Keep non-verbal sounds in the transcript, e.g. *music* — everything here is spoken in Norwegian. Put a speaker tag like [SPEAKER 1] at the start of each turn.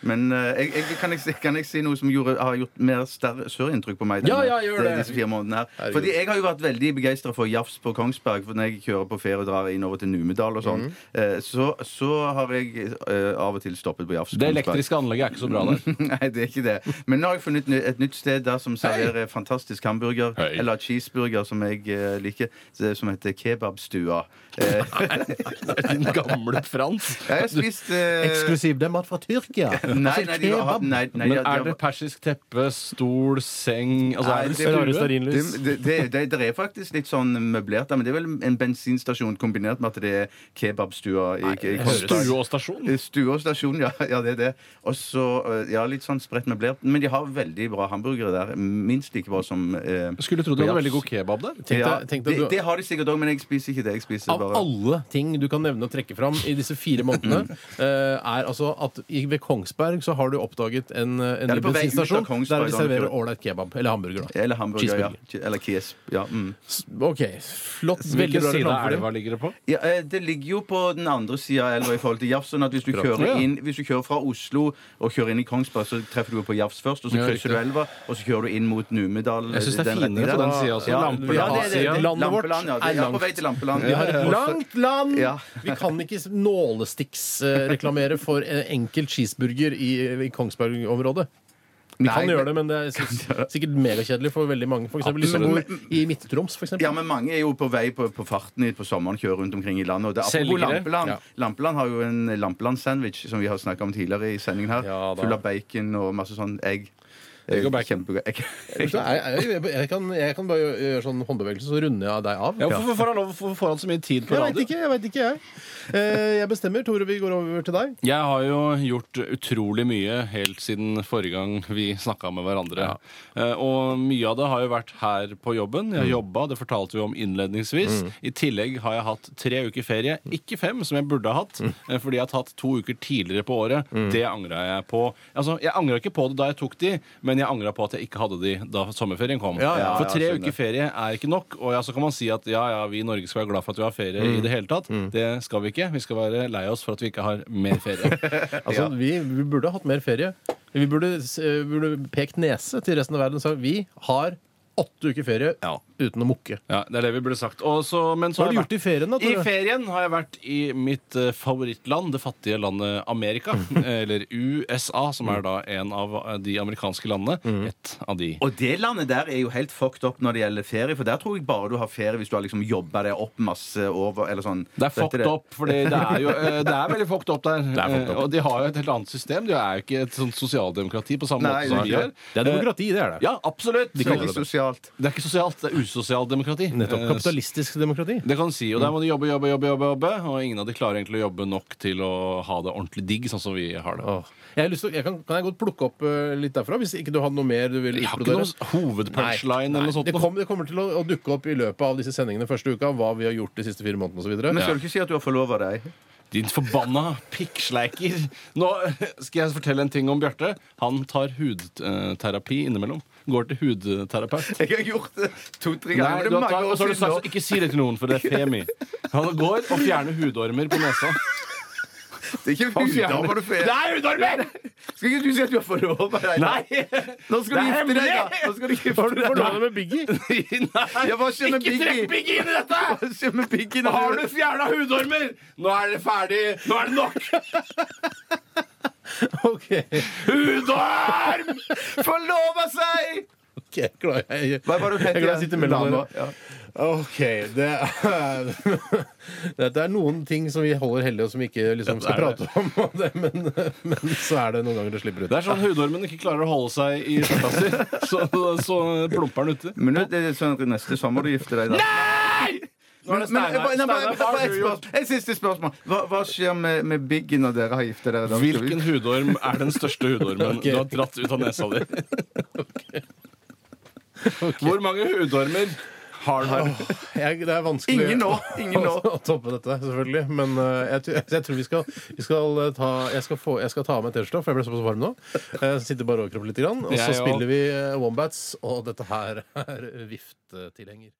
[SPEAKER 1] Men eh, jeg, jeg, kan, jeg, si- kan jeg si noe som gjorde, har gjort mer større større inntrykk på meg?
[SPEAKER 2] Ja,
[SPEAKER 1] denne-
[SPEAKER 2] ja, gjør det.
[SPEAKER 1] Disse fire månedene her
[SPEAKER 2] Herregud.
[SPEAKER 1] Fordi jeg har jo vært veldig begeistra for jafs på Kongsberg. For når jeg kjører på ferie og drar innover til Numedal og sånn, eh, så, så har jeg eh, av og til stoppet på jafs.
[SPEAKER 3] Det
[SPEAKER 1] Kongsberg.
[SPEAKER 3] elektriske anlegget er ikke så bra *laughs* der.
[SPEAKER 1] *laughs* Nei, det er ikke det. Men nå har jeg funnet et nytt sted der som serverer fantastisk hamburger.
[SPEAKER 3] Hei.
[SPEAKER 1] Eller cheeseburger, som jeg eh, liker. Som heter kebabstua.
[SPEAKER 3] *laughs*
[SPEAKER 1] Eh,
[SPEAKER 3] Din gamle Frans.
[SPEAKER 1] jeg har spist eh,
[SPEAKER 4] Eksklusiv det er mat fra Tyrkia.
[SPEAKER 1] *laughs*
[SPEAKER 4] Altså,
[SPEAKER 1] Nei, nei, de har,
[SPEAKER 4] Kebab.
[SPEAKER 1] nei, nei,
[SPEAKER 3] Men
[SPEAKER 1] de har- de
[SPEAKER 3] er
[SPEAKER 1] har-
[SPEAKER 3] det persisk teppe, stol, seng altså,
[SPEAKER 1] Nei,
[SPEAKER 3] er det
[SPEAKER 1] det-
[SPEAKER 3] stue?
[SPEAKER 4] Rare stearinlys.
[SPEAKER 1] Det, det, det, det er faktisk litt sånn møblert der, men det er vel en bensinstasjon kombinert med at det er kebabstua. i- i Kongsberg.
[SPEAKER 3] Stue og stasjon?
[SPEAKER 1] Eh, Stue og stasjon, ja. ja det er det. Og så, eh, ja, Litt sånn spredt møblert. Men de har veldig bra hamburgere der. Minst like bra som eh,
[SPEAKER 3] Skulle tro de hadde veldig god kebab der.
[SPEAKER 4] Tenk
[SPEAKER 1] ja,
[SPEAKER 4] deg- tenk
[SPEAKER 1] det,
[SPEAKER 4] deg du-
[SPEAKER 1] det har de sikkert òg, men jeg spiser ikke det. Jeg spiser
[SPEAKER 4] Av
[SPEAKER 1] bare
[SPEAKER 4] alle ting du kan nevne og trekke fram i disse fire
[SPEAKER 1] *clears throat*
[SPEAKER 4] månedene, eh, er altså at i- ved Kongsberg så har du oppdaget en, eh, en
[SPEAKER 1] Ja, det er på vei
[SPEAKER 4] ny
[SPEAKER 1] ut av
[SPEAKER 4] bensinstasjon
[SPEAKER 1] Kongsberg,
[SPEAKER 4] der de
[SPEAKER 1] da,
[SPEAKER 4] serverer
[SPEAKER 1] ikke-
[SPEAKER 4] ålreit kebab. Eller hamburger, da.
[SPEAKER 1] Eller hamburger, ja.
[SPEAKER 4] Cheeseburger.
[SPEAKER 1] Eller kies. Ja, mm.
[SPEAKER 4] S- OK. Flott. Veldig
[SPEAKER 3] Hvilken
[SPEAKER 4] bra
[SPEAKER 3] side
[SPEAKER 4] reklame
[SPEAKER 3] av
[SPEAKER 4] for det.
[SPEAKER 3] elva ligger det på?
[SPEAKER 1] ja, eh, Det ligger jo på den andre sida av elva i forhold til Jafs. Sånn at hvis du,
[SPEAKER 3] Ja.
[SPEAKER 1] kjører inn, hvis du kjører fra Oslo og kjører inn i Kongsberg, så treffer du på Jafs først, og så
[SPEAKER 4] Ja,
[SPEAKER 1] krysser du
[SPEAKER 4] riktig.
[SPEAKER 1] elva, og så kjører du inn mot Numedal.
[SPEAKER 3] Jeg synes det er
[SPEAKER 1] den retningen
[SPEAKER 3] finere på
[SPEAKER 1] der.
[SPEAKER 3] den siden også.
[SPEAKER 1] Ja,
[SPEAKER 3] Lampeland.
[SPEAKER 1] ja, det er det.
[SPEAKER 4] Landet vårt
[SPEAKER 1] Lampeland, ja.
[SPEAKER 4] er
[SPEAKER 1] Ja, på
[SPEAKER 4] langt.
[SPEAKER 1] vei til Lampeland.
[SPEAKER 4] Vi har et
[SPEAKER 1] Også-
[SPEAKER 4] langt land!
[SPEAKER 1] Ja.
[SPEAKER 4] Vi kan ikke s- nålestikksreklamere for en enkel cheeseburger i, i Kongsberg-området. Vi
[SPEAKER 1] Nei,
[SPEAKER 4] kan gjøre det, men det er
[SPEAKER 1] *laughs*
[SPEAKER 4] s- sikkert megakjedelig for veldig mange. For eksempel de som bor
[SPEAKER 1] Absolutt.
[SPEAKER 4] i Midt-Troms, for eksempel.
[SPEAKER 1] Ja, men mange er jo på vei på, på farten hit på sommeren, kjører rundt omkring i landet. Og det, apropos
[SPEAKER 3] Selgere.
[SPEAKER 1] Lampeland.
[SPEAKER 4] Ja.
[SPEAKER 1] Lampeland har jo en Lampeland-sandwich som vi har snakka om tidligere i sendingen her.
[SPEAKER 4] Ja, da.
[SPEAKER 1] full av bacon og masse sånn egg.
[SPEAKER 3] Egg og bacon.
[SPEAKER 1] Kjempegod- egg.
[SPEAKER 4] *laughs* Vet du hva, Jeg, jeg, jeg, kan, jeg kan bare gjøre sånn håndbevegelse, så runder jeg deg av.
[SPEAKER 3] Ja, hvorfor får han lov hvorfor får han så mye tid på
[SPEAKER 4] Jeg veit
[SPEAKER 3] radio?
[SPEAKER 4] ikke, jeg vet ikke, jeg. Eh, Jeg bestemmer. Tore, vi går over til deg.
[SPEAKER 3] Jeg har jo gjort utrolig mye helt siden forrige gang vi snakka med hverandre. Eh, Og mye av det har jo vært her på jobben.
[SPEAKER 4] Mm.
[SPEAKER 3] Jeg har jobba, det fortalte vi om innledningsvis. I tillegg har jeg hatt tre uker ferie. Ikke fem, som jeg burde ha hatt,
[SPEAKER 4] Mm.
[SPEAKER 3] eh, fordi jeg har tatt to uker tidligere på året. Det angra jeg på. Altså, jeg angra ikke på det da jeg tok de, men jeg angra på at jeg ikke hadde de da sommerferien kom.
[SPEAKER 4] Ja, ja,
[SPEAKER 1] ja,
[SPEAKER 3] For tre
[SPEAKER 1] skjønner.
[SPEAKER 3] uker ferie er ikke nok. Og ja, så kan man si at ja, ja, vi i Norge skal være glad for at vi har ferie i det hele tatt. Det skal vi ikke. Vi skal være lei oss for at vi ikke har mer ferie.
[SPEAKER 4] Altså, vi, vi burde hatt mer ferie. Vi burde, s- eh, burde pekt nese til resten av verden og sagt vi har åtte uker ferie
[SPEAKER 3] Ja.
[SPEAKER 4] uten å mukke.
[SPEAKER 3] *laughs* Ja, Det er det vi burde sagt. Og så- men så
[SPEAKER 4] Hva har du
[SPEAKER 3] har jeg
[SPEAKER 4] gjort i ferien, da?
[SPEAKER 3] vært- I
[SPEAKER 4] Tore?
[SPEAKER 3] ferien har jeg vært i mitt eh, favorittland, det fattige landet *laughs* Amerika. Eller USA, som er da en av eh, de amerikanske landene. Et av de.
[SPEAKER 1] Og det landet der er jo helt fucked up når det gjelder ferie, for der tror jeg bare du har ferie hvis du har liksom jobba deg opp masse over eller sånn.
[SPEAKER 3] Det er
[SPEAKER 1] Vet du
[SPEAKER 3] fucked up, for det er jo eh, *laughs* Det er veldig fucked up der.
[SPEAKER 4] er fucked up.
[SPEAKER 3] Eh, Og de har jo et helt annet system. De er jo ikke et sånt sosialdemokrati på samme
[SPEAKER 1] Nei,
[SPEAKER 3] måte som
[SPEAKER 1] det
[SPEAKER 3] vi
[SPEAKER 1] er
[SPEAKER 3] er.
[SPEAKER 1] ikke.
[SPEAKER 4] Det er demokrati, det er det.
[SPEAKER 3] Ja, absolutt.
[SPEAKER 1] Det er Veldig sosialt.
[SPEAKER 3] Det er ikke sosialt, det er usosialdemokrati.
[SPEAKER 4] Nettopp.
[SPEAKER 3] Eh, s-
[SPEAKER 4] Kapitalistisk demokrati.
[SPEAKER 3] Det kan du si, og
[SPEAKER 1] Mm.
[SPEAKER 3] Der må du jobbe, jobbe, jobbe, jobbe, jobbe og ingen av de klarer egentlig å jobbe nok til å ha det ordentlig digg, sånn som vi har det.
[SPEAKER 4] Åh. Jeg har lyst til, å- jeg kan, kan jeg godt plukke opp eh, litt derfra, hvis ikke du hadde noe mer du ville
[SPEAKER 3] Jeg har ikke
[SPEAKER 4] utbrodere?
[SPEAKER 3] noen hovedpunchline eller noe sånt.
[SPEAKER 4] Det, kom, det kommer til å, å dukke opp i løpet av disse sendingene første uka, hva vi har gjort de siste fire månedene osv.
[SPEAKER 1] Men
[SPEAKER 4] videre
[SPEAKER 1] skal du ikke si at du har forlova deg? *laughs*
[SPEAKER 3] Din forbanna pikksleiker. Nå *laughs* skal jeg fortelle en ting om Bjarte. Han tar hudterapi innimellom. Går til hudterapeut.
[SPEAKER 1] Jeg har gjort det to-tre
[SPEAKER 3] Nei,
[SPEAKER 1] ganger. men
[SPEAKER 3] du
[SPEAKER 1] det
[SPEAKER 3] har
[SPEAKER 1] er
[SPEAKER 3] tatt,
[SPEAKER 1] mange
[SPEAKER 3] og
[SPEAKER 1] år
[SPEAKER 3] så har du
[SPEAKER 1] siden
[SPEAKER 3] sagt
[SPEAKER 1] nå.
[SPEAKER 3] ikke si det til noen, for det er femi. Han går og fjerner hudormer på nesa.
[SPEAKER 1] Det er ikke
[SPEAKER 3] Han
[SPEAKER 1] hudormer
[SPEAKER 3] fjerner-
[SPEAKER 1] når du ferie.
[SPEAKER 3] Det er hudormer!
[SPEAKER 1] Skal ikke du si at du har forlova deg? Nå skal du gifte deg,
[SPEAKER 3] Det er
[SPEAKER 1] da!
[SPEAKER 3] hemmelig!
[SPEAKER 1] Nå skal du gifte deg.
[SPEAKER 4] For nå er det med Biggie.
[SPEAKER 3] Nei!
[SPEAKER 1] Ja, hva skjer med
[SPEAKER 3] Ikke
[SPEAKER 1] Biggie?
[SPEAKER 3] trepp Biggie inn i dette!
[SPEAKER 1] Hva skjer med piggen?
[SPEAKER 3] Har du fjerna hudormer? Nå er det ferdig! Nå er det
[SPEAKER 1] *laughs*
[SPEAKER 3] nok!
[SPEAKER 4] Ok,
[SPEAKER 3] Hudorm!
[SPEAKER 1] Forlova seg!
[SPEAKER 4] *laughs* ok, jeg er glad jeg, jeg,
[SPEAKER 1] Hva var det du het
[SPEAKER 4] er glad jeg
[SPEAKER 1] igjen?
[SPEAKER 4] sitter mellom dere.
[SPEAKER 1] Ja.
[SPEAKER 4] OK. Det er, *laughs* dette er noen ting som vi holder hellige, og som vi ikke liksom, skal
[SPEAKER 3] Ja, det
[SPEAKER 4] prate om. *laughs* og Det, men, men så er det noen ganger det slipper ut.
[SPEAKER 3] Det er sånn hudormen ikke klarer å holde seg i skjorta si, *laughs* så, så plumper den uti.
[SPEAKER 1] Men nå, det er sånn at neste sommer du gifter deg, da.
[SPEAKER 3] Nei! Nå er
[SPEAKER 1] Men- men-
[SPEAKER 3] det Steinar.
[SPEAKER 1] nei, bare-
[SPEAKER 3] Steinar, hva
[SPEAKER 1] bare
[SPEAKER 3] har
[SPEAKER 1] Et
[SPEAKER 3] du gjort?
[SPEAKER 1] spørsmål. Et siste spørsmål. Hva, hva skjer med, med Biggie når dere har giftet dere? da? Skal vi-
[SPEAKER 3] Hvilken hudorm er den største hudormen
[SPEAKER 4] Ok.
[SPEAKER 3] du har dratt ut
[SPEAKER 1] *laughs*
[SPEAKER 3] av nesa di? Hvor mange hudormer har den?
[SPEAKER 4] Jeg, det er vanskelig
[SPEAKER 1] Ingen nå! Ingen
[SPEAKER 4] å,
[SPEAKER 1] nå.
[SPEAKER 4] å toppe dette, selvfølgelig. Men eh, jeg, tror- jeg tror vi skal, vi skal eh, ta Jeg skal, få, jeg skal ta av meg T-skjorta, for jeg ble såpass varm nå. Eh, sitter bare overkropp litt. Grann, og
[SPEAKER 3] Jeg
[SPEAKER 4] så
[SPEAKER 3] også.
[SPEAKER 4] spiller vi eh, Wombats, og dette her er viftetilhenger.